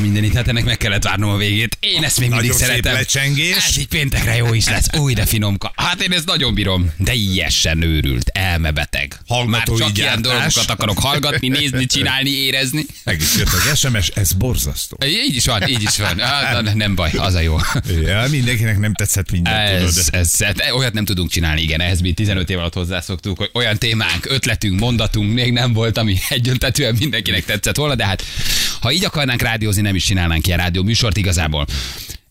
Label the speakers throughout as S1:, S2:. S1: mindenit, hát ennek meg kellett várnom a végét. Én ezt még mindig
S2: Nagyon szép
S1: szeretem.
S2: lecsengés.
S1: Ez így péntekre jó is lesz. Új, de finomka. Hát én ezt nagyon bírom. De ilyesen őrült, elmebeteg. Már
S2: Hallgatói
S1: csak
S2: gyártás.
S1: ilyen dolgokat akarok hallgatni, nézni, csinálni, érezni.
S2: Meg is jött az SMS, ez borzasztó.
S1: Így is van, így is van. Hát, na, nem baj, az a jó.
S2: Ja, mindenkinek nem tetszett mindent, tudod.
S1: Ez, ez, ez, olyat nem tudunk csinálni, igen, ehhez mi 15 év alatt hozzászoktuk, hogy olyan témánk, ötletünk, mondatunk még nem volt, ami egyöntetően mindenkinek tetszett volna, de hát ha így akarnánk rádiózni, nem is csinálnánk ilyen rádió műsort igazából.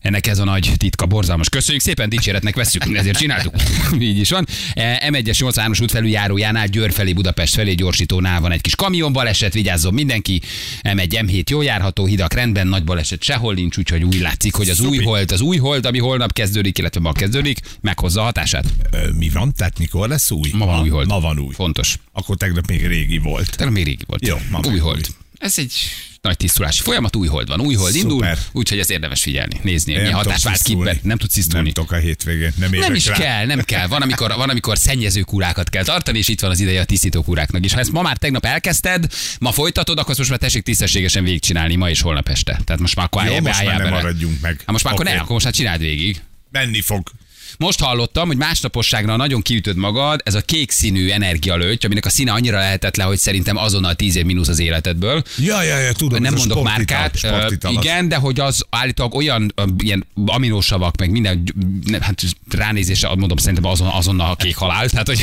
S1: Ennek ez a nagy titka, borzalmas. Köszönjük szépen, dicséretnek vesszük, ezért csináltuk. Így is van. Eh, M1-es 83-as út felüljárójánál Győr felé, Budapest felé gyorsítónál van egy kis kamion baleset, vigyázzon mindenki. M1, M7 jó járható, hidak rendben, nagy baleset sehol nincs, úgyhogy úgy látszik, hogy az új hold, az új hold, ami holnap kezdődik, illetve ma kezdődik, meghozza a hatását.
S2: Ö, Mi van? Tehát mikor lesz új?
S1: Ma van új hold.
S2: Ma van új.
S1: Fontos.
S2: Akkor tegnap még régi volt.
S1: Tehát még régi volt.
S2: Jó, ma meg
S1: új hold.
S2: új.
S1: Ez egy nagy tisztulási folyamat, új hold van, új hold
S2: Szuper.
S1: indul, úgyhogy ez érdemes figyelni, nézni, hogy milyen
S2: tudok
S1: hatás vált ki,
S2: tisztulni.
S1: be- nem tudsz tisztulni.
S2: Nem tudok a hétvégén, nem érek
S1: Nem is
S2: rá.
S1: kell, nem kell. Van amikor, van, amikor szennyező kúrákat kell tartani, és itt van az ideje a tisztító kúráknak is. Ha ezt ma már tegnap elkezdted, ma folytatod, akkor azt most már tessék tisztességesen végigcsinálni ma és holnap este. Tehát most már akkor
S2: Jó,
S1: álljál be,
S2: most már
S1: álljál
S2: nem
S1: bele.
S2: maradjunk meg.
S1: Hát most már akkor
S2: Oké.
S1: ne, akkor most már csináld végig.
S2: Menni fog.
S1: Most hallottam, hogy másnaposságra nagyon kiütöd magad, ez a kék színű energialőty, aminek a színe annyira lehetetlen, hogy szerintem azonnal 10 év mínusz az életedből.
S2: Ja, ja, ja, tudom.
S1: Nem
S2: ez a
S1: mondok
S2: sportital,
S1: márkát.
S2: sportital
S1: Ö,
S2: az.
S1: igen, de hogy az állítólag olyan ö, ilyen aminósavak, meg minden, nem, hát ránézésre mondom, szerintem azon, azonnal a kék halál. Tehát, hogy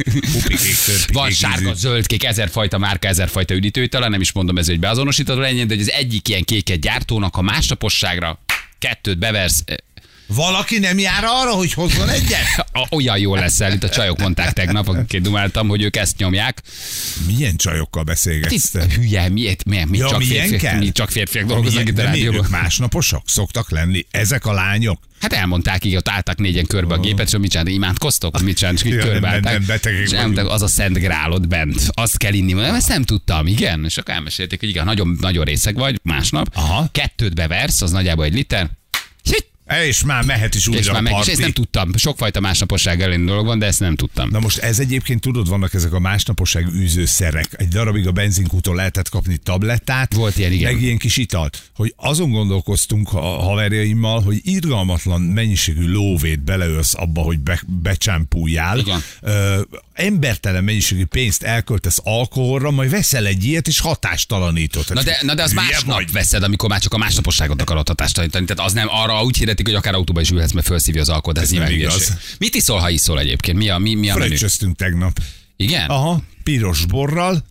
S2: Pupikék, törpikék,
S1: van sárga,
S2: ízű.
S1: zöld, kék, ezerfajta márka, ezerfajta üdítőtelen, nem is mondom ez, hogy beazonosítható legyen, de hogy az egyik ilyen kéket gyártónak a másnaposságra kettőt beversz, ö,
S2: Valaki nem jár arra, hogy hozzon egyet?
S1: a- olyan jó leszel, mint a csajok mondták tegnap, akikkel dumáltam, hogy ők ezt nyomják.
S2: Milyen csajokkal
S1: Tiszt,
S2: beszélgetsz?
S1: hülye, miért, miért, mi,
S2: Ja,
S1: csak
S2: milyen
S1: férfiak,
S2: kell?
S1: mi csak férfiak dolgoznak
S2: Milyen,
S1: itt a
S2: de miért
S1: rádióban.
S2: ők másnaposok szoktak lenni? Ezek a lányok?
S1: Hát elmondták, így ott álltak négyen körbe a gépet, és mit csináltak, imádkoztok, mit csináltak, és így
S2: Ja, nem,
S1: körbeállták.
S2: nem, nem, betegek
S1: és
S2: vagyunk.
S1: elmondták, az a szent grál ott bent, azt kell inni. Mondom, ezt nem tudtam, igen. És akkor elmesélték, hogy igen, nagyon, nagyon részeg vagy másnap.
S2: Aha.
S1: Kettőt beversz, az nagyjából egy liter. Hit,
S2: És már mehet is újra
S1: És már
S2: a
S1: meg, és
S2: parti.
S1: ezt nem tudtam. Sokfajta másnaposság elleni dolog van, de ezt nem tudtam.
S2: Na most ez egyébként tudod, vannak ezek a másnaposság űzőszerek. Egy darabig a benzinkúton lehetett kapni tablettát.
S1: Volt ilyen, igen.
S2: Meg ilyen kis italt. Hogy azon gondolkoztunk a haverjaimmal, hogy irgalmatlan mennyiségű lóvét beleölsz abba, hogy be, becsámpuljál.
S1: Igen.
S2: Ö, embertelen mennyiségű pénzt elköltesz alkoholra, majd veszel egy ilyet, és hatástalanítod.
S1: Na
S2: Hát,
S1: de, na de az
S2: hülye
S1: másnap
S2: vagy?
S1: veszed, amikor már csak a másnaposságot akarod hatást tanítani. Tehát az nem arra úgy hirdetik, hogy akár autóba is ülhetsz, mert felszívja az alkot, ez, ez nyilván
S2: nem igaz.
S1: hülyeség. Mit iszol, ha iszol egyébként? Mi a, mi, mi a menü?
S2: Fröccsöztünk tegnap.
S1: Igen?
S2: Aha, piros borral,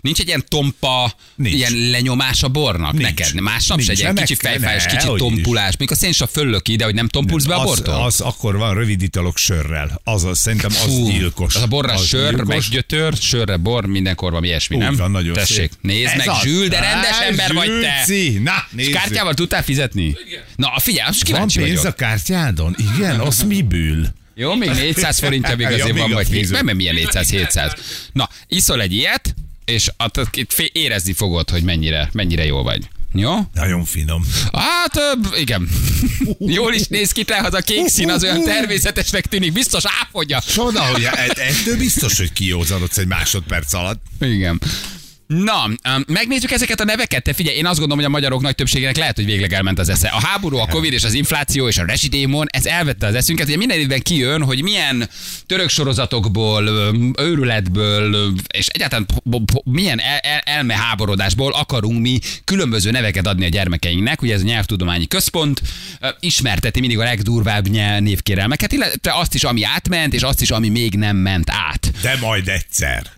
S1: Nincs egy ilyen tompa,
S2: Nincs.
S1: ilyen lenyomás a bornak
S2: Nincs.
S1: neked? Másnap se
S2: Nincs,
S1: egy ilyen
S2: de
S1: kicsi
S2: meg-
S1: fejfájás,
S2: ne,
S1: kicsi
S2: hogy is.
S1: tompulás. Még a szénsav föllöki ide, hogy nem tompulsz be a
S2: az,
S1: bortól?
S2: az, akkor van rövid italok sörrel. Az, az szerintem az
S1: Fú,
S2: gyilkos.
S1: Az a borra
S2: az
S1: sör,
S2: gyilkos.
S1: meggyötör, sörre bor, mindenkor valami ilyesmi,
S2: Úgy
S1: nem?
S2: van, nagyon
S1: Tessék,
S2: szép.
S1: nézd
S2: Ez
S1: meg,
S2: az.
S1: Zsül, de
S2: Á,
S1: rendes ember vagy te.
S2: Zsülci! Na,
S1: És
S2: nézzük.
S1: kártyával tudtál fizetni? Na, figyelj, most
S2: Van
S1: kíváncsi
S2: pénz
S1: vagyok.
S2: a kártyádon? Igen, az miből?
S1: Jó, még 400 forintja még
S2: Ja,
S1: azért
S2: még
S1: van,
S2: az
S1: vagy
S2: még
S1: még.
S2: az.
S1: Nem, nem ilyen 400-700. Na, iszol egy ilyet, és att- att- itt fé- érezni fogod, hogy mennyire, mennyire jó vagy. Jó?
S2: Nagyon finom.
S1: Hát, ö, igen. Jól is néz ki, tehát az a kék szín az olyan természetesnek tűnik, biztos áfogja.
S2: Csoda, hogy e- ettől biztos, hogy kiózanodsz egy másodperc alatt.
S1: Igen. Na, um, megnézzük ezeket a neveket. Te figyelj, én azt gondolom, hogy a magyarok nagy többségének lehet, hogy végleg elment az esze. A háború, a Covid és az infláció és a rezsidémon, ez elvette az eszünket. Ugye minden évben kijön, hogy milyen török sorozatokból, öm, őrületből öm, és egyáltalán po- po- po- milyen el- el- elmeháborodásból akarunk mi különböző neveket adni a gyermekeinknek. Ugye ez a nyelvtudományi központ ö, ismerteti mindig a legdurvább nyelv névkérelmeket, illetve azt is, ami átment, és azt is, ami még nem ment át.
S2: De majd egyszer.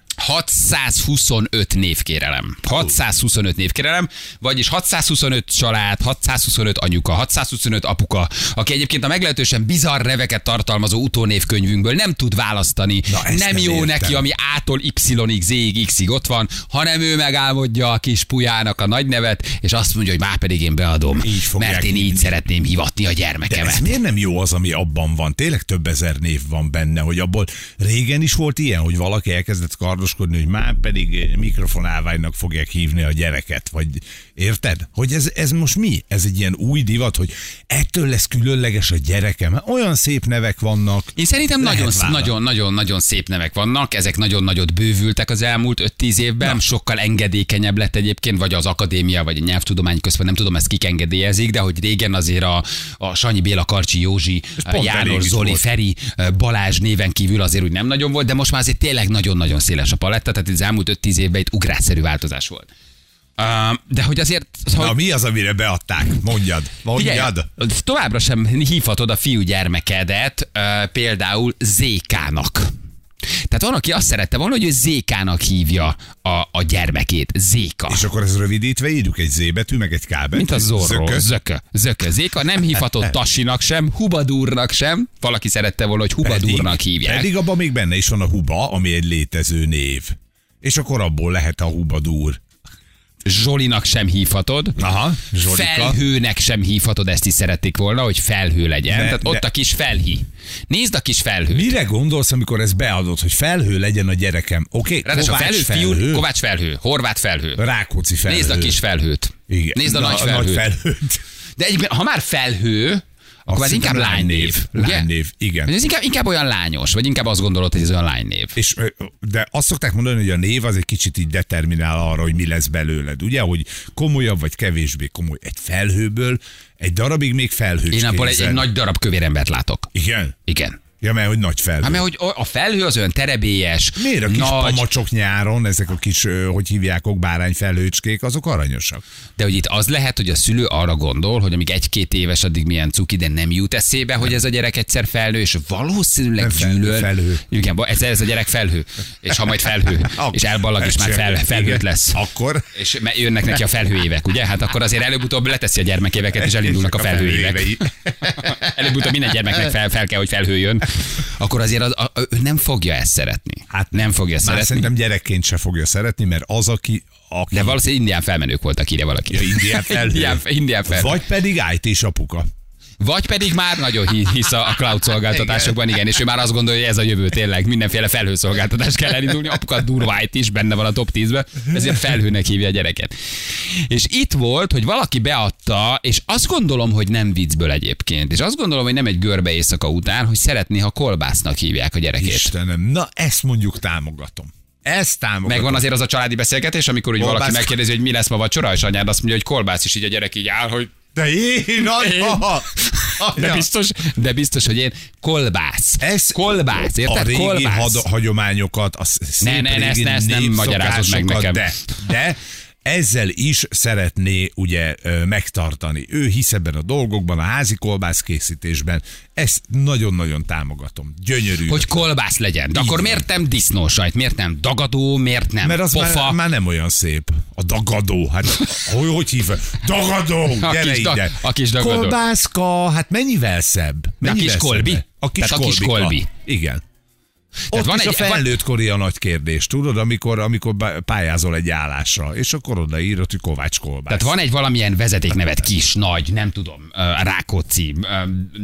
S1: 625 névkérelem. 625 névkérelem, vagyis 625 család, 625 anyuka, 625 apuka, aki egyébként a meglehetősen bizarr neveket tartalmazó utónévkönyvünkből nem tud választani.
S2: Na, ezt
S1: nem
S2: nem
S1: jó
S2: értem.
S1: neki, ami A-tól Y-ig, Z-ig, X-ig ott van, hanem ő megálmodja a kis pujának a nagy nevet, és azt mondja, hogy már pedig én beadom,
S2: Így fogják
S1: mert én így
S2: hívni.
S1: szeretném hivatni a
S2: De ez
S1: gyermekemet.
S2: miért nem jó az, ami abban van? Tényleg több ezer név van benne, hogy abból régen is volt ilyen, hogy valaki elkezdett óvatoskodni, hogy már pedig mikrofonálványnak fogják hívni a gyereket, vagy érted? Hogy ez, ez most mi? Ez egy ilyen új divat, hogy ettől lesz különleges a gyerekem. Hát Olyan szép nevek vannak.
S1: Én szerintem
S2: Lehet
S1: nagyon,
S2: vállalni.
S1: nagyon, nagyon, nagyon szép nevek vannak, ezek nagyon nagyot bővültek az elmúlt 5-10 évben, Na. sokkal engedékenyebb lett egyébként, vagy az akadémia, vagy a nyelvtudomány közben, nem tudom, ezt kik engedélyezik, de hogy régen azért a, a Sanyi Béla, Karcsi Józsi,
S2: pont elég
S1: János
S2: is
S1: Zoli,
S2: volt.
S1: Feri, Balázs néven kívül azért úgy nem nagyon volt, de most már azért tényleg nagyon-nagyon széles a paletta, tehát az elmúlt 5-10 évben itt ugrásszerű változás volt. Ö, De hogy azért, hogy
S2: Na mi az, amire beadták? Mondjad. Mondjad.
S1: Figyelj, továbbra sem hívhatod a fiú gyermekedet ö, például Zékának. Tehát van, aki azt szerette volna, hogy ő Zékának hívja a, a gyermekét. Zéka.
S2: És akkor ez rövidítve írjuk egy Z betű, meg egy K betű.
S1: Mint a Zorro.
S2: Zökö.
S1: Zökö. Zökö. Zökö. Zéka nem
S2: Hát,
S1: hívhatott Tasinak sem, Hubadúrnak sem. Valaki szerette volna, hogy Hubadúrnak hívják.
S2: Pedig abban még benne is van a huba, ami egy létező név. És akkor abból lehet a hubadúr.
S1: Zsolinak sem hívhatod.
S2: Aha, Zsolika.
S1: Felhőnek sem hívhatod, ezt is szerették volna, hogy felhő legyen.
S2: Ne-
S1: Tehát ott
S2: ne-
S1: a kis felhí. Nézd a kis felhő.
S2: Mire gondolsz, amikor ez beadod, hogy felhő legyen a gyerekem? Oké, okay,
S1: Ráadásul
S2: Kovács
S1: a felhő,
S2: felhő,
S1: fiú, Kovács felhő, Horváth felhő.
S2: Rákóczi felhő.
S1: Nézd a kis felhőt.
S2: Igen.
S1: Nézd a
S2: Na,
S1: nagy felhőt.
S2: felhőt.
S1: De egy, ha már felhő, akkor az inkább
S2: szerintem
S1: lánynév. ugye?
S2: Lánynév, igen.
S1: Vagy Ez inkább, inkább olyan lányos, vagy inkább azt gondolod, hogy ez olyan lánynév.
S2: És, ö, de azt szokták mondani, hogy a név az egy kicsit így determinál arra, hogy mi lesz belőled. Ugye, hogy komolyabb vagy kevésbé komoly. Egy felhőből egy darabig még felhős
S1: Én abból egy,
S2: képzel.
S1: egy nagy darab kövér embert látok.
S2: Igen?
S1: Igen.
S2: Ja, mert hogy nagy felhő.
S1: Hát mert hogy a felhő az olyan terebélyes,
S2: Miért a kis
S1: nagy,
S2: pamacsok nyáron, ezek a kis, ö, hogy hívják, ok, bárányfelhőcskék, azok aranyosak.
S1: de hogy itt az lehet, hogy a szülő arra gondol, hogy amíg egy-két éves, addig milyen cuki, de nem jut eszébe, hogy ez a gyerek egyszer felhő, és valószínűleg
S2: Nem felhő,
S1: gyűlöl.
S2: felhő.
S1: Igen, bo- ez, ez a gyerek felhő. És ha majd felhő, és elballag, és már fel, felhőt
S2: Igen.
S1: lesz.
S2: Akkor
S1: És me- jönnek neki a felhőévek, ugye? Hát akkor azért előbb-utóbb leteszi a gyermekéveket, és elindulnak a felhőévek.
S2: felhőévei.
S1: Előbb-utóbb minden gyermeknek fel, fel kell, hogy felhőjön. Akkor azért az, a, ő nem fogja ezt szeretni. Hát nem fogja
S2: Már
S1: szeretni.
S2: szerintem gyerekként se fogja szeretni, mert az, aki... aki
S1: De valószínűleg indián felmenők voltak, írja valaki.
S2: Ja, indián felhő.
S1: indián, indián felmenő.
S2: Vagy pedig IT-s apuka.
S1: Vagy pedig már nagyon hi- hisz a a cloud szolgáltatásokban, igen. és ő már azt gondolja, hogy ez a jövő tényleg, mindenféle felhőszolgáltatást kell elindulni, apukat durvájt is benne van a top 10-ben, ezért felhőnek hívja a gyereket. És itt volt, hogy valaki beadta, és azt gondolom, hogy nem viccből egyébként, és azt gondolom, hogy nem egy görbe éjszaka után, hogy szeretné, ha kolbásznak hívják a gyerekét.
S2: Istenem, na ezt mondjuk támogatom. Ezt támogatom.
S1: Megvan azért az a családi beszélgetés, amikor úgy valaki
S2: Kolbász.
S1: megkérdezi, hogy mi lesz ma vacsora, és anyád azt mondja, hogy kolbász, és így a gyerek így áll, hogy
S2: De én,
S1: Én.
S2: nagyha!
S1: De biztos, de biztos, hogy én kolbász.
S2: Ez-
S1: Ez kolbász,
S2: a
S1: érted?
S2: régi
S1: kolbász.
S2: Had- hagyományokat, a sz- szép
S1: Ne, ne, ne,
S2: régi
S1: ezt- ezt nem magyarázod meg
S2: népszokásokat,
S1: nekem.
S2: De, de ezzel is szeretné ugye ö, megtartani. Ő hisz ebben a dolgokban, a házi kolbász készítésben. Ezt nagyon-nagyon támogatom. Gyönyörű.
S1: hogy kolbász legyen. De akkor
S2: van.
S1: miért nem disznósajt? Miért nem dagadó? Miért nem
S2: mert az
S1: pofa?
S2: már, már, nem olyan szép. A dagadó. Hát, hogy, hogy hívja? Dagadó!
S1: A
S2: Gyere
S1: kis da-
S2: ide.
S1: a kis dagadó.
S2: Kolbászka, hát mennyivel szebb? Mennyivel
S1: kis kolbi?
S2: szebb? A kis
S1: Tehát a kis
S2: kolbika.
S1: kolbi.
S2: Igen. Ott
S1: van
S2: van is egy, a
S1: egy- van-
S2: felnőttkori a nagy kérdés, tudod, amikor, amikor bá- pályázol egy állásra, és akkor odaírod, hogy Kovács Kolbász.
S1: Tehát van egy valamilyen vezetéknevet, kis, nagy, nem tudom, ö, Rákóczi, ö,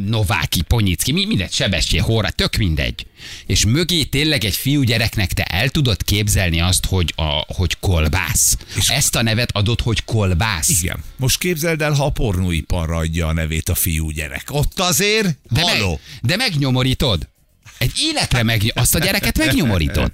S1: Nováki, Ponyicki, mi, mindegy, Sebestyén, Horra, tök mindegy. És mögé tényleg egy fiú gyereknek te el tudod képzelni azt, hogy, a, hogy kolbász. És Ezt a nevet adod, hogy kolbász.
S2: Igen. Most képzeld el, ha a pornóiparra adja a nevét a fiú gyerek. Ott azért,
S1: De,
S2: haló.
S1: meg, de megnyomorítod. Egy életre meg, azt a gyereket megnyomorítod.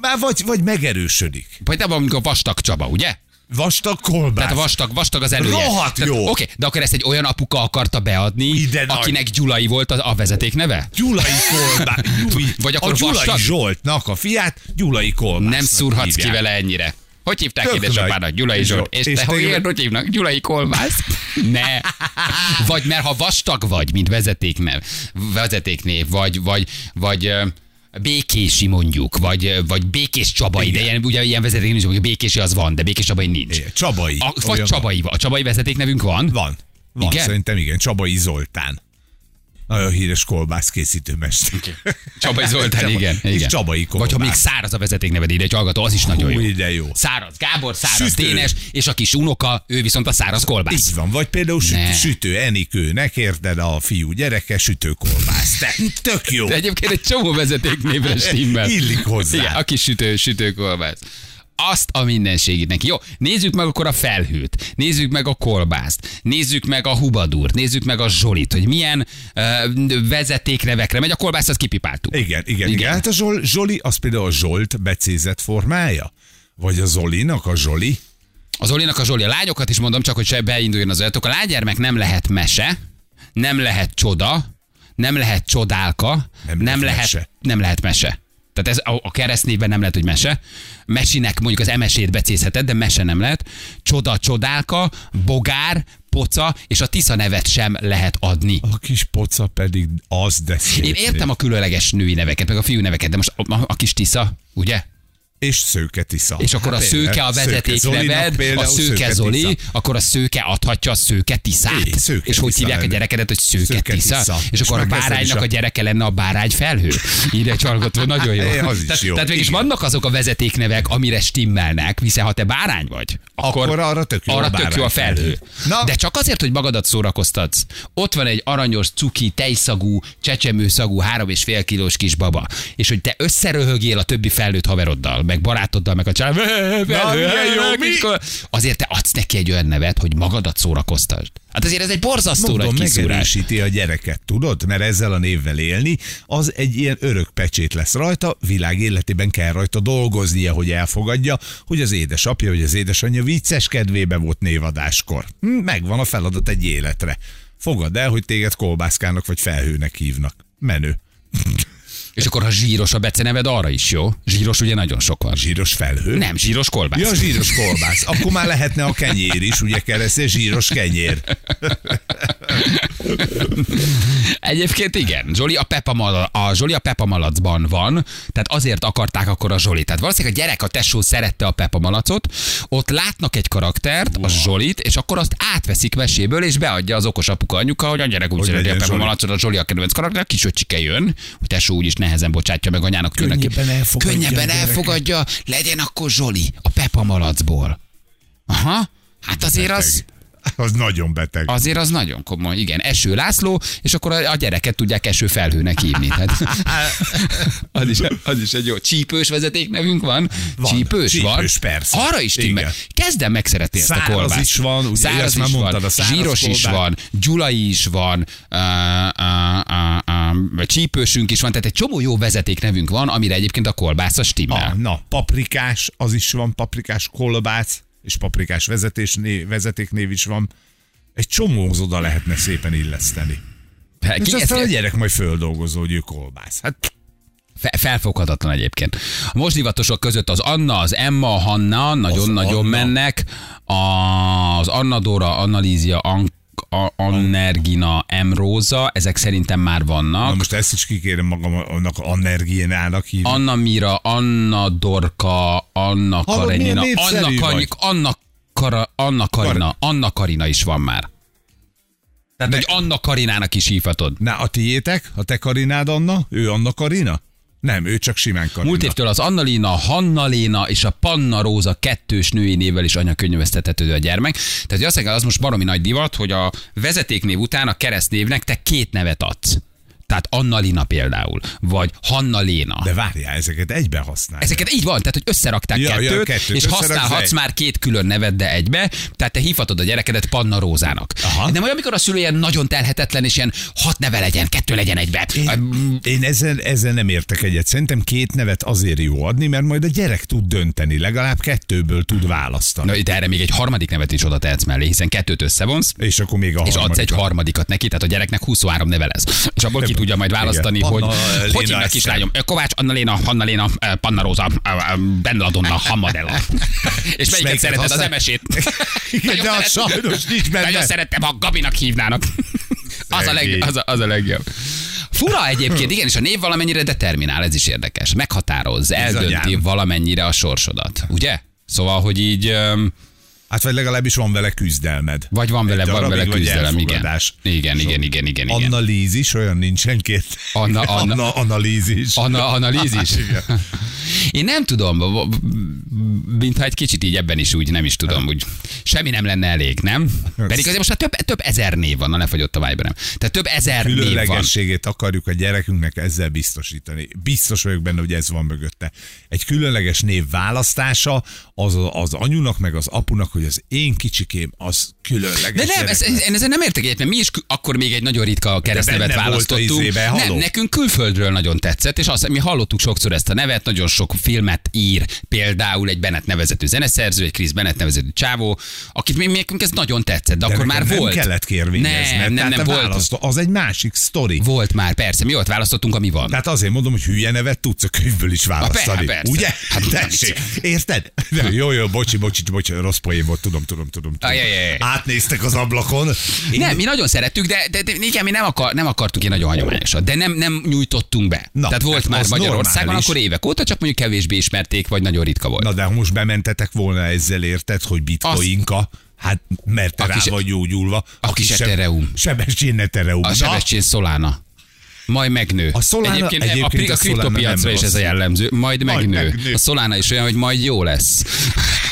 S2: Már vagy, vagy megerősödik.
S1: Például, amikor vastag Csaba, ugye?
S2: Vastag kolbász.
S1: Tehát a vastag, vastag az elője.
S2: Rohadt
S1: Tehát,
S2: jó.
S1: Oké, de akkor ezt egy olyan apuka akarta beadni,
S2: Ide nagy.
S1: akinek Gyulai volt a, a vezeték neve?
S2: Gyulai Kolbász. Gyuri.
S1: Vagy akkor
S2: a Gyulai
S1: vastag?
S2: Zsoltnak a fiát Gyulai Kolbász.
S1: Nem szúrhatsz ki vele ennyire. Hogy hívták
S2: Tök
S1: édesapának?
S2: nagy.
S1: Gyulai Zsolt. És,
S2: És
S1: te hogy
S2: tényleg-
S1: érted, hogy hívnak? Gyulai Kolbász? Ne. Vagy mert ha vastag vagy, mint vezetéknev, vezetéknév, vagy, vagy, vagy ö, Békési mondjuk, vagy, vagy Békés Csabai, de ilyen, ugye ilyen vezeték nincs, hogy Békési az van, de Békés Csabai nincs.
S2: Igen, Csabai.
S1: A, vagy
S2: Olyan
S1: Csabai, a Csabai vezetéknevünk van?
S2: Van. Van,
S1: Igen?
S2: igen? szerintem igen. Csabai Zoltán. nagyon híres kolbász készítőmester.
S1: Csabai Zoltán,
S2: Csaba-
S1: igen.
S2: és
S1: igen.
S2: Csabai
S1: Vagy ha még
S2: kolbász.
S1: száraz a vezetékneved ide, egy hallgató, az is nagyon
S2: Hú,
S1: jó.
S2: ide jó.
S1: Száraz Gábor, száraz
S2: Sütő.
S1: Dénes, és a kis unoka, ő viszont a száraz kolbász.
S2: Így van, vagy például sütő,
S1: Ne.
S2: sütő Enikőnek, érted, a fiú gyereke sütőkolbász. Te, tök jó.
S1: De egyébként egy csomó vezetéknévre stimmel.
S2: Illik hozzá.
S1: Igen, a kis sütő, sütőkolbász. Azt a mindenségét neki. Jó, nézzük meg akkor a felhőt, nézzük meg a kolbászt, nézzük meg a hubadúrt, nézzük meg a zsolit, hogy milyen uh, vezetéknevekre megy. A kolbászt azt kipipáltuk.
S2: Igen, igen, igen.
S1: Igen.
S2: igen. Hát a Zsol, Zsoli, az például a Zsolt becézett formája? Vagy a Zolinak a Zsoli?
S1: Az Olinak a Zsoli, a lányokat is mondom, csak hogy se beinduljon az ötök. A lánygyermek nem lehet mese, nem lehet csoda, nem lehet csodálka,
S2: Nem lehet
S1: nem, nem lehet,
S2: mese.
S1: mese. nem lehet mese. Tehát ez a, a keresztnévben nem lehet, hogy mese. Mesinek mondjuk az emesét becézheted, de mese nem lehet. Csoda, csodálka, bogár, poca, és a Tisza nevet sem lehet adni.
S2: A kis poca pedig az de szép.
S1: Én értem a különleges női neveket, meg a fiú neveket, de most a, a, a kis Tisza, ugye?
S2: És Szőke Tisza.
S1: És akkor a
S2: Hát
S1: szőke a
S2: például
S1: vezeték
S2: Szőke Zolinak
S1: neved, a
S2: például
S1: szőke Zoli,
S2: Tisza.
S1: akkor a szőke adhatja a szőke tiszát.
S2: É, szőke
S1: és hogy
S2: tisza
S1: hívják a
S2: lenne.
S1: gyerekedet, hogy szőke
S2: Szőke tisza.
S1: tisza? És
S2: És
S1: akkor a
S2: már kezdem is
S1: báránynak
S2: a-
S1: a gyereke lenne a bárány felhő. Ide csalgató, nagyon jó.
S2: É, az is
S1: tehát,
S2: jó,
S1: Tehát mégis
S2: igen.
S1: vannak azok a vezetéknevek, amire stimmelnek, hiszen ha te bárány vagy, akkor,
S2: Akkor arra tök jó a
S1: arra tök jó a
S2: bárány
S1: felhő.
S2: Na.
S1: De csak azért, hogy magadat szórakoztatsz. Ott van egy aranyos, cuki, tejszagú, csecsemőszagú, három és fél kilós kis baba. És hogy te összeröhögél a többi felnőtt haveroddal, meg barátoddal, meg a család.
S2: Na, milyen jó, mi?
S1: Azért te adsz neki egy olyan nevet, hogy magadat szórakoztasd. Hát azért ez egy borzasztó
S2: Mondom,
S1: nagy kiszúrás.
S2: megerősíti a gyereket, tudod? Mert ezzel a névvel élni, az egy ilyen örök pecsét lesz rajta, világ életében kell rajta dolgoznia, hogy elfogadja, hogy az édesapja vagy az édesanyja vicces kedvébe volt névadáskor. Hm, Megvan a feladat egy életre. Fogad el, hogy téged kolbászkának vagy felhőnek hívnak. Menő.
S1: És akkor, ha zsíros a beceneved, arra is jó. Zsíros ugye nagyon sok van.
S2: Zsíros felhő?
S1: Nem, zsíros kolbász.
S2: Ja, zsíros kolbász. Akkor már lehetne a kenyér is, ugye keresztél zsíros kenyér.
S1: Egyébként igen, Zsoli a, Pepa mal- a Zsoli a Pepa malacban van, tehát azért akarták akkor a Zsoli. Tehát valószínűleg a gyerek, a tesó szerette a Pepa malacot, ott látnak egy karaktert, a Zsolit, és akkor azt átveszik meséből, és beadja az okos apuka anyuka, hogy a gyerek úgy
S2: Hogy
S1: szereti a
S2: legyen
S1: Pepa
S2: Zsoli.
S1: malacot, a Zsoli a kedvenc karakter, kisöcsike jön, hogy tesó úgyis nehezen bocsátja meg anyának. jön neki.
S2: Könnyebben elfogadja a
S1: Könnyebben
S2: gyereket.
S1: elfogadja, legyen akkor Zsoli a Pepa malacból. Aha, hát azért az,
S2: Az nagyon beteg.
S1: Azért az nagyon komoly, igen. Eső László, és akkor a a gyereket tudják eső felhőnek hívni. Hát, Tehát, az, is, az is egy jó. Csípős vezeték nevünk van?
S2: Van.
S1: Csípős, van.
S2: Csípős, persze.
S1: Arra is
S2: Igen.
S1: timmel. Kezdem megszeretni ezt a
S2: Száraz
S1: kolbászt.
S2: is van, ugye, ezt
S1: száraz
S2: már
S1: is
S2: mondtad,
S1: van,
S2: a száraz
S1: zsíros is
S2: kolbász.
S1: van, gyulai is van, uh, uh, uh, uh, csípősünk is van, tehát egy csomó jó vezeték nevünk van, amire egyébként a kolbász a
S2: Ah,
S1: stimmel.
S2: na, paprikás, az is van, paprikás kolbász, és paprikás vezetés, né, vezetéknév is van. Egy csomóhoz oda lehetne szépen illeszteni.
S1: Hát Ki-
S2: És
S1: ezt-
S2: aztán a gyerek majd földolgozó, hogy ő kolbász. Hát
S1: Fe- felfoghatatlan egyébként. A most divatosok között az Anna, az Emma, a Hanna nagyon-nagyon
S2: Anna.
S1: mennek. A- Az Anna Dora, Annalízia, An- a- Annergina, Emróza, ezek szerintem már
S2: na
S1: vannak.
S2: most ezt is kikérem magam annak Annergienának hívni.
S1: Anna Mira, Anna Dorka, Anna
S2: Hallod, milyen
S1: Karenina,
S2: népszerű
S1: Anna,
S2: vagy?
S1: Kar- Anna, Kara- Anna Karina, Anna Karina is van már.
S2: Hát
S1: Tehát, hogy Anna Karinának is hívhatod.
S2: Na, a tiétek? A te Karinád Anna? Ő Anna Karina? Nem, ő csak simán Karina.
S1: Múlt évtől az Annalina, Hannaléna és a Panna Róza kettős női névvel is anyakönyvesztethető a gyermek. Tehát azt az most baromi nagy divat, hogy a vezetéknév után a keresztnévnek te két nevet adsz. Tehát Annalina például, vagy Hannaléna.
S2: De várjál, ezeket egyben használják.
S1: Ezeket így van, tehát hogy összerakták
S2: Ja, ja,
S1: kettőt,
S2: kettőt
S1: és
S2: összeraksz
S1: használhatsz
S2: egy.
S1: már két külön nevet, de egybe, tehát te hívhatod a gyerekedet Panna Rózának.
S2: Aha.
S1: Nem olyan, amikor a szülő ilyen nagyon telhetetlen, és ilyen hat neve legyen, kettő legyen egybe. mm,
S2: Én, én ezzel, ezzel nem értek egyet. Szerintem két nevet azért jó adni, mert majd a gyerek tud dönteni, legalább kettőből tud választani.
S1: Na, itt erre még egy harmadik nevet is oda tehetsz mellé, hiszen kettőt összevonsz,
S2: És akkor még a
S1: és adsz egy
S2: harmadikat.
S1: harmadikat neki, tehát a gyereknek 23 neve lesz. És abból ki tudja majd választani,
S2: Igen.
S1: hogy
S2: Panna, eh, Léna,
S1: hogy hívnak
S2: Eszter.
S1: kislányom. Ö, Kovács, Anna-Léna, Hanna-Léna, ö, eh, Panna Róza, ö, ö, Benladonna, Hamadella. És melyiket
S2: melyiket
S1: szereted az
S2: használ-
S1: emesét?
S2: Igen,
S1: Nagyon
S2: de az
S1: szeretem.
S2: sajnos nincs benne.
S1: Nagyon szerettem, ha Gabinak hívnának. Az a, leg,
S2: Szegény.
S1: az, a, az a legjobb. Fura egyébként, igen, és a név valamennyire determinál, ez is érdekes. Meghatároz, eldönti
S2: anyám.
S1: valamennyire a sorsodat, ugye? Szóval, hogy így... öm,
S2: Hát vagy legalábbis van vele küzdelmed.
S1: Vagy van vele,
S2: Egy
S1: van
S2: darabig,
S1: vele
S2: vagy
S1: küzdelem, igen.
S2: elfogadás.
S1: Igen,
S2: És
S1: igen,
S2: a-
S1: igen, igen, igen.
S2: Analízis, olyan nincsen két.
S1: Anna- Anna-
S2: Anna analízis.
S1: Anna, analízis?
S2: Igen.
S1: Én nem tudom, v- v- mintha egy kicsit így ebben is úgy, nem is tudom, úgy semmi nem lenne elég, nem? Pedig azért most már több, több ezer név van, na lefagyott a Viberem. Tehát több ezer név van.
S2: különlegességét akarjuk a gyerekünknek ezzel biztosítani. Biztos vagyok benne, hogy ez van mögötte. Egy különleges név választása az az anyunak, meg az apunak, hogy az én kicsikém az különleges.
S1: De nem,
S2: gyerek
S1: ez,
S2: lesz.
S1: ez, én ezen nem értek egyet, mert mi is kü- akkor még egy nagyon ritka keresztnevet
S2: benne volt a
S1: választottunk.
S2: izébe,
S1: nem,
S2: halló.
S1: nekünk külföldről nagyon tetszett, és azt, mi hallottuk sokszor ezt a nevet, nagyon sok filmet ír, például egy Bennett nevezetű zeneszerző, egy Chris Bennett nevezetű csávó, akit mi, nekünk ez nagyon tetszett, de,
S2: De
S1: akkor
S2: nekem
S1: már
S2: nem
S1: volt.
S2: kellett kérvényezni.
S1: Nem, nem,
S2: Tehát
S1: nem,
S2: a
S1: volt.
S2: választó- Az egy másik sztori.
S1: Volt már, persze, mi ott választottunk, ami van.
S2: Tehát azért mondom, hogy hülye nevet tudsz a könyvből is választani.
S1: persze.
S2: Ugye?
S1: Hát,
S2: Hát Tessék. Érted? Nem, jó, jó, bocsi, bocsi, bocsi, rossz poén volt, tudom, tudom, tudom. tudom.
S1: Ajajaj.
S2: Átnéztek az ablakon. Én
S1: Nem, mi nagyon szerettük, de, de, de igen, mi nem, akar, nem akartuk ilyen nagyon hagyományosat, de nem, nem nyújtottunk be. Na,
S2: Na,
S1: Tehát volt
S2: hát
S1: már
S2: az
S1: Magyarországon,
S2: normális.
S1: akkor évek óta, csak mondjuk kevésbé ismerték, vagy nagyon ritka volt.
S2: Na de ha most bementetek volna ezzel, érted, hogy bitcoinka, hát mert te
S1: A
S2: rá
S1: kis-
S2: vagy gyógyulva.
S1: a kis Ethereum.
S2: Sebessén Ethereum.
S1: A
S2: Na,
S1: Sebestyén Solana. Majd megnő.
S2: A Solana-
S1: egyébként, egyébként, a,
S2: egyébként
S1: pri- a,
S2: a Solana
S1: kriptopiacra
S2: nem
S1: is ez a
S2: rossz.
S1: jellemző. Majd
S2: Majd
S1: megnő.
S2: megnő.
S1: A Solana is olyan, hogy majd jó lesz.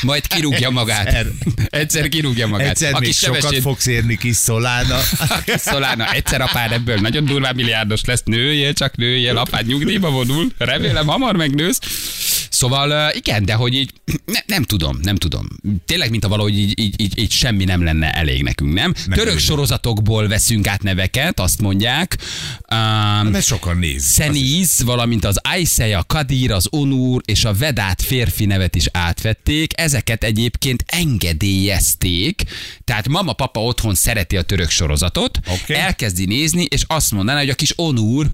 S1: Majd kirúgja magát. Egyszer,
S2: Egyszer.
S1: kirúgja magát.
S2: Egyszer
S1: a
S2: még
S1: kis
S2: sokat
S1: Sebestyén-
S2: fogsz érni kis Szolána.
S1: A kis Solana, egyszer apád ebből nagyon durvá milliárdos lesz, nőjél, csak nőjél, apád nyugdíjba vonul, remélem hamar megnősz. Szóval ö, igen, de hogy így ne, nem tudom, nem tudom. Tényleg, mint a valahogy így, így, így, így semmi nem lenne elég nekünk, nem? Török
S2: elég.
S1: sorozatokból veszünk át neveket, azt mondják. Um,
S2: Mert sokan néz.
S1: Szeniz, valamint az Aiseja, Kadir, az Onur és a Vedát férfi nevet is átvették. Ezeket egyébként engedélyezték. Tehát mama, papa otthon szereti a török sorozatot,
S2: Oké.
S1: elkezdi nézni, és azt mondaná, hogy a kis Onur,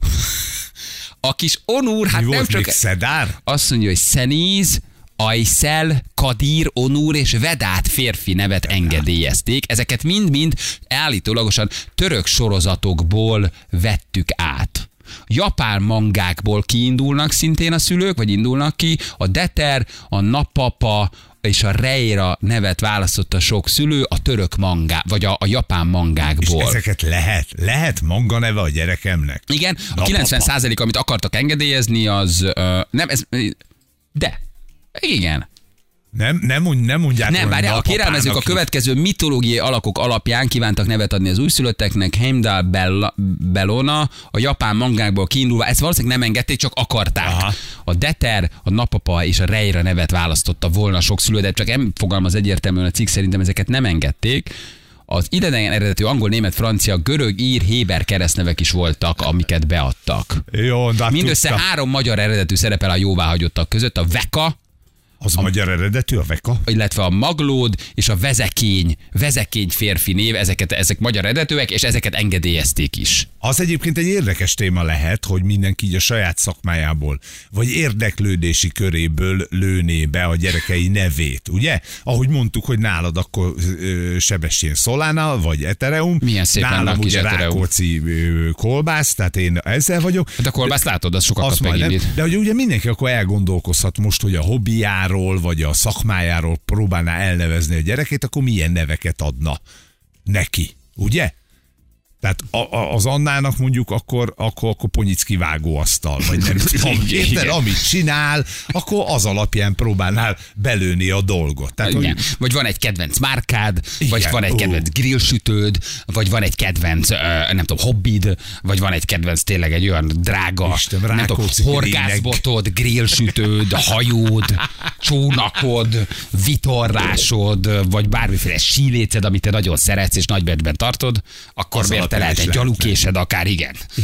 S1: a kis Onur, hát
S2: Mi
S1: nem
S2: volt
S1: csak...
S2: még Szedár?
S1: Azt mondja, hogy Szeniz, Ajszel, Kadir, Onur és Vedát férfi nevet engedélyezték. Ezeket mind-mind állítólagosan török sorozatokból vettük át. Japán mangákból kiindulnak szintén a szülők, vagy indulnak ki. A Deter, a Napapa és a Reira nevet választotta sok szülő a török mangá, vagy a, a japán
S2: És
S1: mangákból.
S2: ezeket lehet, lehet manga neve a gyerekemnek.
S1: Igen, a
S2: Napapa.
S1: 90 százalék, amit akartak engedélyezni, az ö, nem, ez, de, igen.
S2: Nem, nem, mond- nem mondják
S1: Nem,
S2: volna
S1: várjál, a
S2: napapának,
S1: kérelmezők a következő mitológiai alakok alapján kívántak nevet adni az újszülötteknek, Heimdall Bella, Bellona, a japán mangákból kiindulva, ezt valószínűleg nem engedték, csak akarták. Aha.
S2: Aha.
S1: A Deter, a Napapa és a Reira nevet választotta volna sok szülő, de csak nem fogalmaz egyértelműen a cikk, szerintem ezeket nem engedték. Az idegen eredetű angol, német, francia, görög, ír, héber keresztnevek is voltak, amiket beadtak.
S2: Jó, de hát
S1: Mindössze
S2: tudtam.
S1: három magyar eredetű szerepel a jóváhagyottak között, a Veka,
S2: Az magyar eredetű, a veka?
S1: illetve a maglód és a vezekény, vezekény férfi név, ezeket, ezek magyar eredetűek, és ezeket engedélyezték is.
S2: Az egyébként egy érdekes téma lehet, hogy mindenki így a saját szakmájából, vagy érdeklődési köréből lőné be a gyerekei nevét, ugye? Ahogy mondtuk, hogy nálad akkor ö, Sebestyén Szolána, vagy Etereum.
S1: Milyen szép lenne a
S2: Nálam
S1: kis
S2: ugye
S1: Ethereum.
S2: Rákóczi ö, kolbász, tehát én ezzel vagyok.
S1: Hát a kolbászt látod, az sokat
S2: Azt
S1: kap
S2: majd nem.
S1: megindít.
S2: De hogy ugye mindenki akkor elgondolkozhat most, hogy a hobbiáról, vagy a szakmájáról próbálná elnevezni a gyerekét, akkor milyen neveket adna neki, ugye? Tehát a, a, az Annának mondjuk akkor, akkor, akkor Ponyicki vágóasztal, vagy nem tudom,
S1: Igen,
S2: érted,
S1: igen.
S2: amit csinál, akkor az alapján próbálnál belőni a dolgot. Tehát,
S1: Igen.
S2: hogy
S1: Vagy van egy kedvenc márkád, Igen.
S2: Igen.
S1: vagy van egy
S2: Ú.
S1: kedvenc grillsütőd, vagy van egy kedvenc, ö, nem tudom, hobbid, vagy van egy kedvenc tényleg egy olyan drága,
S2: Isten,
S1: nem tudom,
S2: Rákóczi
S1: horgászbotod, grillsütőd, hajód, csónakod, vitorlásod, vagy bármiféle síléced, amit te nagyon szeretsz és nagybetben tartod, akkor
S2: Az
S1: miért te
S2: alapján
S1: lehet
S2: is
S1: egy
S2: lehetne.
S1: gyalukésed akár, igen.
S2: jó,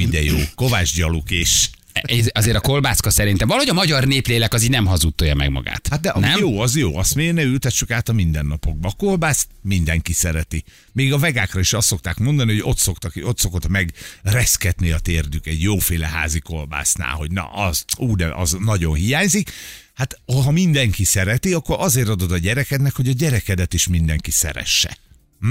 S2: szóval, ide jó, Kovács Gyaluk és...
S1: ez- azért a kolbászka szerintem valahogy a magyar néplélek az így nem hazudtolja meg magát.
S2: Hát de ami
S1: nem?
S2: jó, az jó, azt miért ne ültessük át a mindennapokba. A kolbászt mindenki szereti. Még a vegákra is azt szokták mondani, hogy ott, szoktak, ott szokott meg reszketni a térdük egy jóféle házi kolbásznál, hogy na, az, ú, de az nagyon hiányzik. Hát ha mindenki szereti, akkor azért adod a gyerekednek, hogy a gyerekedet is mindenki szeresse.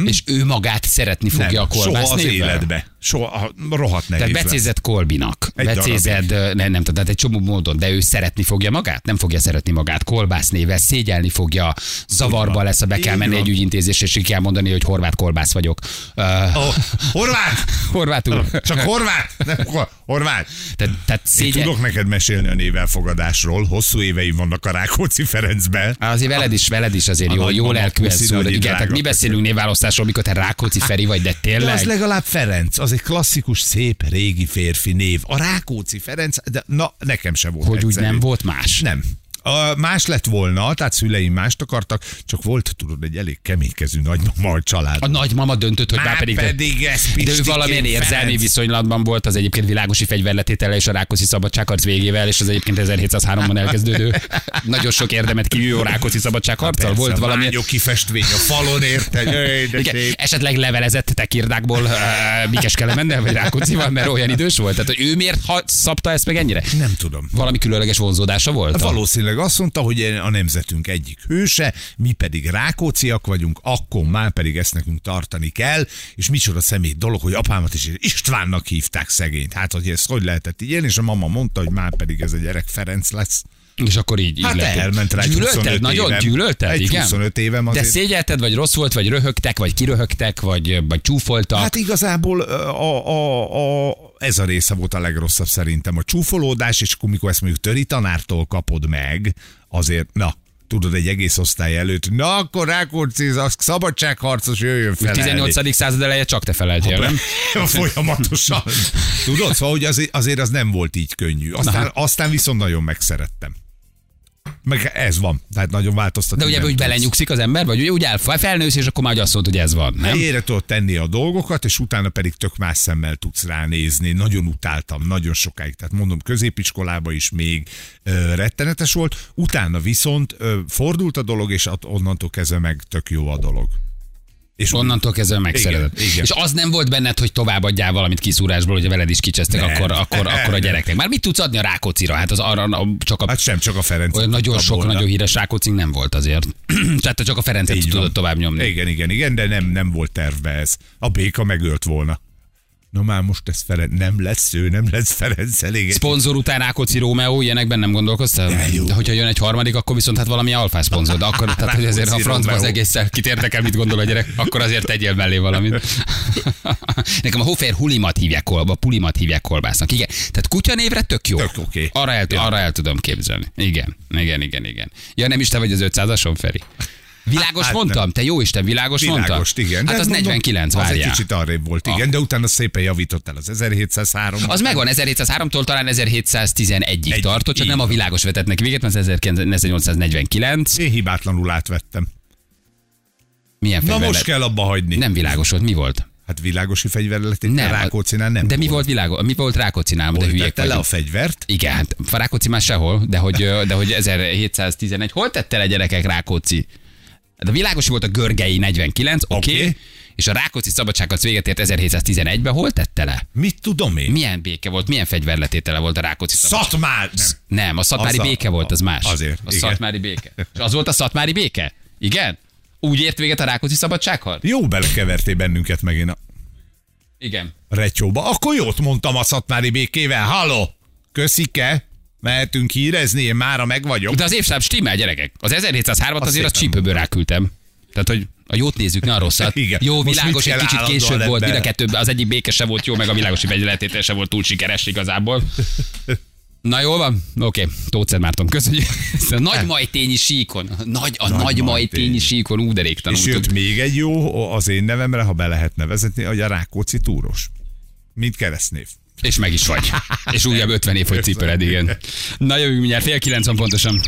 S1: És ő magát szeretni fogja
S2: Hm? Nem,
S1: a kolbász
S2: soha az
S1: névvel?
S2: életbe. Soha, rohadt nehéz
S1: Tehát
S2: lesz.
S1: becézed Kolbinak,
S2: Egy
S1: becézed, ö, ne, nem tudom, tehát egy csomó módon, de ő szeretni fogja magát? Nem fogja szeretni magát, kolbász néve, szégyelni fogja, zavarba lesz, ha be kell
S2: Így
S1: menni
S2: van.
S1: egy ügyintézésre, és ki kell mondani, hogy horvát kolbász vagyok. Uh,
S2: Ó, horvát!
S1: Horvátul.
S2: Csak horvát! Nem, hor- horvát!
S1: Tehát, tehát
S2: Én
S1: szégyen...
S2: tudok neked mesélni a névelfogadásról. Hosszú éveim vannak a Rákóczi Ferencben.
S1: Azért veled is, veled is azért
S2: A
S1: jó,
S2: nagymama
S1: jó lelkűen
S2: puszi,
S1: szól.
S2: nagy
S1: Igen,
S2: drága.
S1: tehát mi beszélünk névválasztásról, mikor te Rákóczi Feri vagy, de
S2: Hát, De az
S1: tényleg.
S2: legalább Ferenc, az egy klasszikus, szép, régi férfi név. A Rákóczi Ferenc, de na, nekem sem volt
S1: Hogy úgy
S2: egyszerű.
S1: nem volt más?
S2: Nem. A más lett volna, tehát szüleim mást akartak, csak volt, tudod, egy elég keménykezű nagymama a család.
S1: A nagymama döntött, hogy már pedig,
S2: pedig ez
S1: de ő
S2: Pistikén
S1: valamilyen érzelmi
S2: Ferenc.
S1: viszonylatban volt az egyébként világosi fegyverletétele és a Rákosi szabadságharc végével, és az egyébként 1703-ban elkezdődő nagyon sok érdemet kívül a Rákosi szabadságharccal volt
S2: Persze,
S1: valami.
S2: Mányok kifestvény a falon, érted? Jaj, de
S1: Igen,
S2: szép.
S1: esetleg levelezett tekirdákból uh, Mikes Kelemennel vagy Rákóczival, mert olyan idős volt. Tehát, hogy ő miért ha, szabta ezt meg ennyire?
S2: Nem tudom.
S1: Valami különleges vonzódása
S2: Hát
S1: volt? a-
S2: Valószínűleg azt mondta, hogy a nemzetünk egyik hőse, mi pedig rákóciak vagyunk, akkor már pedig ezt nekünk tartani kell, és micsoda szemét dolog, hogy apámat is Istvánnak hívták szegényt. Hát, hogy ezt hogy lehetett így élni, és a mama mondta, hogy már pedig ez a gyerek Ferenc lesz.
S1: És akkor így, így
S2: Hát
S1: lett.
S2: elment rá egy
S1: Gyűlölted?
S2: 25
S1: Nagyon
S2: évem.
S1: gyűlölted?
S2: Egy
S1: igen?
S2: 25 évem
S1: De
S2: azért.
S1: szégyelted, vagy rossz volt, vagy röhögtek, vagy kiröhögtek, vagy, vagy csúfoltak?
S2: Hát igazából ö, a, a, a, ez a része volt a legrosszabb szerintem. A csúfolódás, és akkor mikor ezt mondjuk töri tanártól kapod meg, azért, na, tudod, egy egész osztály előtt, na akkor Rákóczi, az szabadságharcos jöjjön fel.
S1: A 18. század eleje csak te feleltél, nem?
S2: Folyamatosan. Tudod, szóval, hogy azért, azért az nem volt így könnyű.
S1: hát.
S2: Aztán, aztán viszont nagyon megszerettem. Meg ez van, tehát nagyon változtató.
S1: De ugye
S2: nem
S1: úgy
S2: tudsz.
S1: belenyugszik az ember, vagy ugye úgy áll, felnősz, és akkor már hogy azt mondod, hogy ez van, nem?
S2: Helyére tudod tenni a dolgokat, és utána pedig tök más szemmel tudsz ránézni. Nagyon utáltam, nagyon sokáig. Tehát mondom, középiskolába is még ö, rettenetes volt. Utána viszont ö, fordult a dolog, és at- onnantól kezdve meg tök jó a dolog. És
S1: Onnantól kezdve megszeretett.
S2: Igen, igen.
S1: És az nem volt benned, hogy továbbadjál valamit kiszúrásból, hogyha veled is kicsesztek,
S2: Nem.
S1: akkor, akkor, akkor a
S2: Nem.
S1: gyereknek. Már mit tudsz adni a rákócira? Hát az arra a- csak a
S2: Hát sem csak a Ferenc.
S1: olyan nagyon
S2: tudtam
S1: sok,
S2: volna.
S1: nagyon híres rákócink nem volt azért. Tehát te csak a Ferencet
S2: Így van.
S1: tudod tovább nyomni.
S2: Igen, igen, igen, de nem, nem volt tervbe ez. A béka megölt volna. Na már most ez Ferenc, nem lesz ő, nem lesz Ferenc elég.
S1: Szponzor után Rákóczi Rómeó, ilyenekben nem gondolkoztál?
S2: De jó.
S1: De hogyha jön egy harmadik, akkor viszont hát valami alfás szponzor. De akkor, tehát, hogy azért, ha a
S2: Rákóczi
S1: francba az
S2: Rómeó.
S1: egészen kit érdekel, mit gondol a gyerek, akkor azért tegyél mellé valamit. Nekem a Hofer Hulimat hívják kolba, Pulimat hívják kolbásznak. Igen. Tehát kutyanévre tök jó.
S2: Tök oké.
S1: Arra, el, arra el tudom képzelni. Igen, igen, igen, igen. Ja, nem is te vagy az 500-ason, Feri? Világos
S2: Hát nem.
S1: mondtam, te jó Isten, világos, mondtam.
S2: Világos, igen.
S1: Hát
S2: De
S1: az
S2: mondom,
S1: 49,
S2: Az egy
S1: várjál. Ah.
S2: kicsit arrébb volt, igen, de utána szépen javított el az 1703
S1: Az megvan 1703-tól talán 1711-ig
S2: Egy-
S1: tartott, csak
S2: így
S1: nem a
S2: van.
S1: világos vetetnek véget, mert az 1849.
S2: Én hibátlanul átvettem.
S1: Milyen
S2: Na
S1: fegyver
S2: most
S1: lett?
S2: kell abba hagyni.
S1: Nem világos volt, mi volt?
S2: Hát világosi fegyverlet itt
S1: Nem.
S2: nem. Rákóczinál nem
S1: de mi volt világos? Mi volt Rákocinál? De
S2: Hol
S1: hülyék
S2: tette le a
S1: vagyunk.
S2: fegyvert?
S1: Igen, hát Rákóczi már sehol, de hogy, ö, de hogy 1711. Hol tette le gyerekek Rákóczi? De világos volt a Görgei 49, oké. Okay.
S2: Oké.
S1: És a Rákóczi szabadságharc véget ért 1711-ben hol tette le?
S2: Mit tudom én?
S1: Milyen béke volt, milyen fegyverletétele volt a Rákóczi szabadság?
S2: Szatmár! Nem.
S1: Nem, a szatmári
S2: Az a-
S1: béke volt, az más.
S2: Azért,
S1: A
S2: igen.
S1: szatmári béke. És az volt a szatmári béke? Igen? Úgy ért véget a Rákóczi szabadságharc?
S2: Jó belekevertél bennünket megint a
S1: Igen.
S2: retyóba. Akkor jót mondtam a szatmári békével. Halló! Köszike! Mehetünk hírezni, én mára meg vagyok.
S1: De az évszám stimmel, gyerekek. Az 1703-at azért
S2: szépen
S1: azt csípőből ráküldtem. Tehát, hogy a jót nézzük, ne a rosszat.
S2: Igen.
S1: Jó,
S2: Most mit
S1: világos, egy
S2: kell
S1: kicsit
S2: állandóan
S1: később volt,
S2: ebben?
S1: mind a kettőben az egyik béke se volt jó, meg a világosi vegyeletétel se volt túl sikeres igazából. Na jól van? Oké, okay. Tóth Márton, köszönjük. Ezt A nagy majtényi síkon, a nagy, a nagy, nagy majtényi
S2: Majtényi.
S1: síkon úgy derék
S2: És
S1: tanultuk.
S2: jött még egy jó az én nevemre, ha be lehet nevezetni, hogy a Rákóczi túros. Mint keresztnév.
S1: És meg is vagy. És újabb 50 év, hogy cipeled, igen. Na jövünk mindjárt, fél 90 pontosan.